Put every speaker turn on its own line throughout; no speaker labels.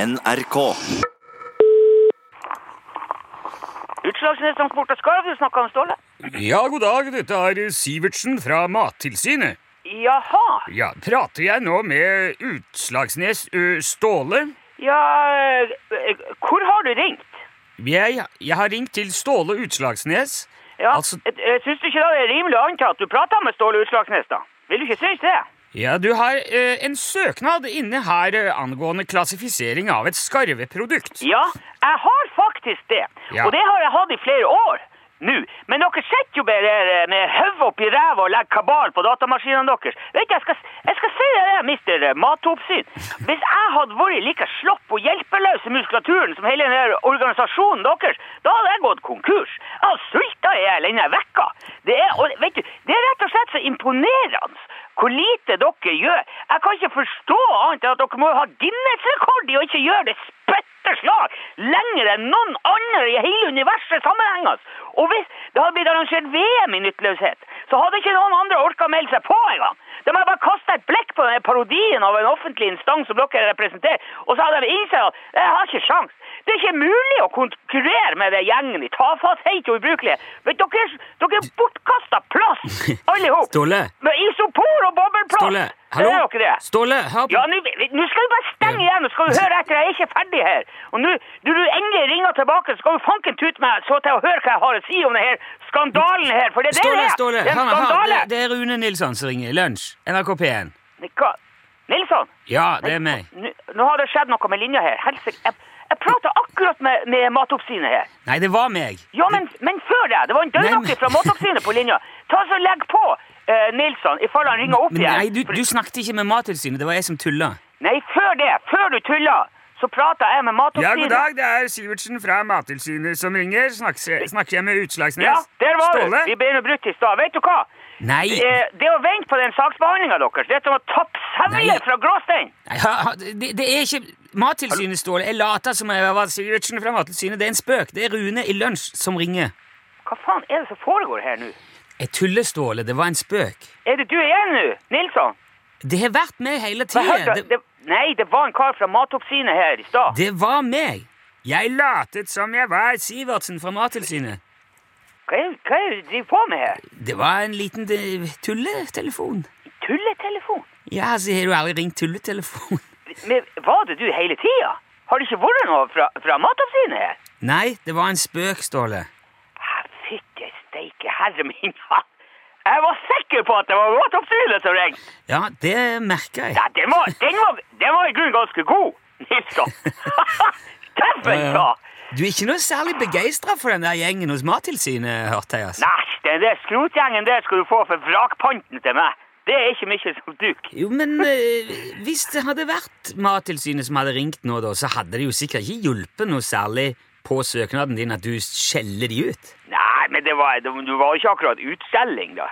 NRK.
Utslagsnes Transport og Skarv, du snakka om Ståle?
Ja, god dag. Dette er Sivertsen fra Mattilsynet.
Jaha.
Ja, Prater jeg nå med Utslagsnes ø, Ståle?
Ja, eh, hvor har du ringt?
Jeg, jeg har ringt til Ståle Utslagsnes.
Ja,
Altså-
et- eh, Syns du ikke da det er rimelig å anta at du prata med Ståle Utslagsnes, da? Vil du ikke synes det?
Ja, Du har ø, en søknad inne her ø, angående klassifisering av et skarveprodukt.
Ja, jeg har faktisk det.
Ja.
Og det har jeg hatt i flere år nå. Men dere sitter jo bare der, eh, med hodet oppi ræva og legger kabal på datamaskinene deres. Vet du, jeg skal, jeg skal si deg det, mister eh, matoppsyn. Hvis jeg hadde vært like slapp og hjelpeløs i muskulaturen som hele den her organisasjonen deres, da hadde jeg gått konkurs. Jeg hadde sulta i hjel denne vekka. Det er, og, vet du, det er rett og slett så imponerende hvor lite dere gjør. Jeg kan ikke forstå annet enn at dere må ha Guinness-rekord i å ikke gjøre det spøtt etter slag lenger enn noen andre i hele universet sammenhengende. Og hvis det hadde blitt arrangert VM i nytteløshet, så hadde ikke noen andre orka melde seg på engang. De hadde bare kasta et blikk på denne parodien av en offentlig instans som dere representerer, og så hadde de innsett at jeg har ikke sjans. Det er ikke mulig å konkurrere med den gjengen i tafatthet og ubrukelige. Men dere, dere er bortkasta plass, alle sammen.
Ståle!
Med isopor og bobleplast.
Ståle! Hallo!
Er dere det?
Ståle, hør
Ja, nå nå skal du bare stenge igjen, og skal du høre etter, jeg er ikke ferdig her. Og nå, når du endelig ringer tilbake, så skal du fanken tute meg så til å høre hva jeg har å si om denne skandalen her, for det er det
Ståle,
det er.
Ståle!
Det er en
Hør, hør,
skandale.
det, det er Rune Nilsson som ringer. Lunsj. NRK P1.
Hva? Nilsson,
Ja, det er meg.
nå, nå har det skjedd noe med linja her. Helsike, jeg, jeg prater akkurat med, med matoppsynet her.
Nei, det var meg.
Ja, men, men før det, det var en
Nei, men-
døgnoktig fra matoppsynet på linja. Ta så legg på eh, Nilsson, i fall han ringer opp
Men
igjen.
nei, du,
For-
du snakket ikke med Mattilsynet. Det var jeg som tulla.
Nei, før det, før du tuller, så prater jeg med
Ja,
matoppsynet.
god dag. Det er Sivertsen fra Mattilsynet som ringer. Snakker, snakker jeg med Utslagsnes?
Ja, der var
Ståle?
du. Vi ble nå brutt i stad. Vet du hva?
Nei,
Eh, det å vente på den saksbehandlinga deres, det er som å tappe
Nei.
sevler fra gråstein.
nei, ha, ha, det, det er ikke Mattilsynet, Ståle. Jeg later som jeg var Sivertsen fra Mattilsynet. Det er en spøk. Det er Rune i lunsj som ringer.
Hva faen er det som foregår her nå?
Jeg tuller, Ståle. Det var en spøk.
Er det du igjen nå, Nilsson?
Det har vært meg hele
Hva hørte
tida.
jeg?
Det,
det, nei, det var en kar fra Matoppsynet her i stad.
det var meg. Jeg latet som jeg var Sivertsen fra Mattilsynet.
Hva er hva er det du driver på med her?
Det var en liten eh, tulletelefon.
Tulletelefon?
Ja, så har du aldri ringt tulletelefon?
Men var det du hele tida? Har det ikke vært noe fra, fra Matoppsynet her?
Nei, det var en spøk, Ståle.
Jeg fikk ei steike herre min. Jeg var sikker på at det var Matoppsynet som ringte!
Ja, det merka jeg.
Ja, den var, den var, den var i grunnen ganske god, Nilsson. Dæven,
Ja,
ja.
ja. Du er ikke noe særlig begeistra for den der gjengen hos Mattilsynet, hørte jeg. altså.
Nei, den der skrotgjengen der skal du få for vrakpanten til meg. Det er ikke mye som duk.
Jo, men eh, hvis det hadde vært Mattilsynet som hadde ringt nå, da, så hadde det jo sikkert ikke hjulpet noe særlig på søknaden din at du skjeller de ut.
Nei, men det var, det, det var ikke akkurat utselling, da.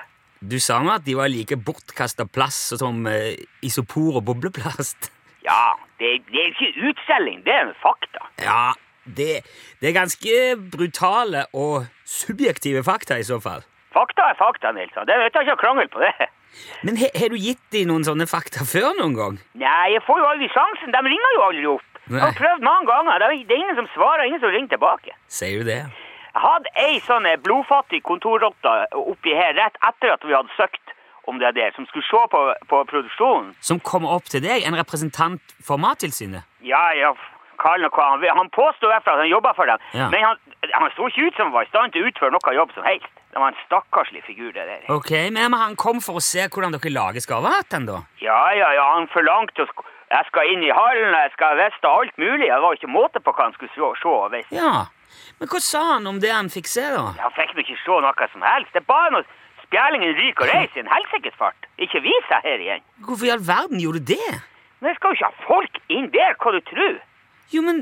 Du sa nå at de var like bortkasta plass og som eh, isopor og bobleplast.
Ja, det, det er ikke utselling, det er en fakta.
Ja, det, det er ganske brutale og subjektive fakta i så fall.
Fakta er fakta, Nilsson. Det vet jeg ikke å krangle på det.
Men he- har du gitt de noen sånne fakta før noen gang?
Nei, jeg får jo aldri sjansen. De ringer jo aldri opp. Jeg har
Nei.
prøvd mange ganger. Det er- det er ingen som svarer, ingen som ringer tilbake.
Sier du det?
Jeg hadde ei sånn eh, blodfattig kontorrotte oppi her rett etter at vi hadde søkt om det der, som skulle se på, på produksjonen.
Som kommer opp til deg, en representant for Mattilsynet?
Ja, ja, f- kall nå hva han vil. Han påstod i hvert fall at han jobbet for dem,
Ja.
men han, han så ikke ut som han var i stand til å utføre noe jobb som helst. Det var en stakkarslig figur, det der.
Ok, men han kom for å se hvordan dere lager skarvehatten, da?
Ja, ja, ja, han forlangte å sk- jeg skal inn i hallen, og jeg skal veste alt mulig. Det var ikke måte på hva han skulle se, se og veste.
Ja. Men hva sa han om det han fikk se, da?
Han fikk nå ikke se noe som helst. Det er bare noe spjælingen ryk og reis i en helsikes fart. Ikke vis seg her igjen.
Hvorfor i all verden gjorde du det?
Men jeg skal jo ikke ha folk inn der, hva du tror.
Jo, men,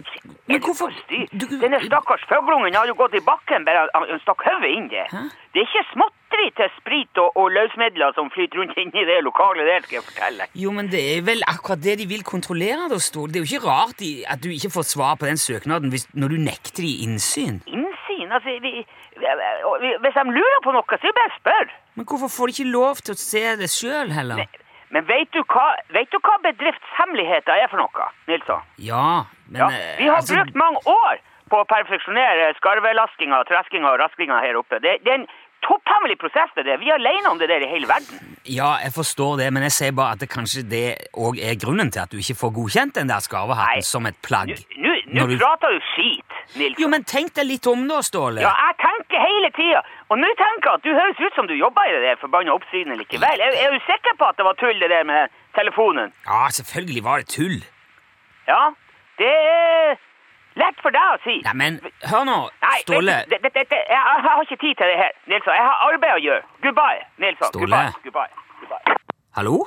men hvorfor
Styr.
du,
Denne stakkars fuglungen har jo gått i bakken, bare han- han stakk hodet inn der.
Hæ?
Det er ikke småtteri til sprit og, og løsmidler som flyter rundt inni det lokalet der, skal jeg fortelle. deg.
Jo, men det er vel akkurat det de vil kontrollere, da, Ståle. Det er jo ikke rart de, at du ikke får svar på den søknaden hvis, når du nekter de innsyn.
Innsyn, altså, vi, vi, vi, hvis de lurer på noe, så er det bare å spørre.
Men hvorfor får de ikke lov til å se det sjøl, heller?
Men vet du hva, vet du hva bedriftshemmeligheter er for noe, Nilsson?
Ja, men
Ja,
eh,
vi har
altså,
brukt mange år på å perfeksjonere skarvelaskinga, treskinga og raskinga her oppe. Det, det er en topphemmelig prosess, det der. Vi er alene om det der i hele verden.
Ja, jeg forstår det, men jeg sier bare at det kanskje det òg er grunnen til at du ikke får godkjent den der
Nei.
skarvehatten som et plagg.
Nå- nå- Nå
Når du-
prater du skit, Nilsson.
Jo, men tenk deg litt om da, Ståle.
Ja, jeg tenker hele tida. Og nå tenker jeg at du høres ut som du jobber i det der forbanna oppsynet likevel. Er, er du sikker på at det var tull, det der med telefonen?
Ja, selvfølgelig var det tull.
Ja, det er lett for deg å si.
Nei, men hør nå,
Nei, vet
Ståle.
du, det, det, det, jeg, jeg har ikke tid til det her, Nilsson. Jeg har arbeid å gjøre. Goodbye, Nilsson.
Ståle.
Goodbye. Goodbye. Goodbye.
Hallo?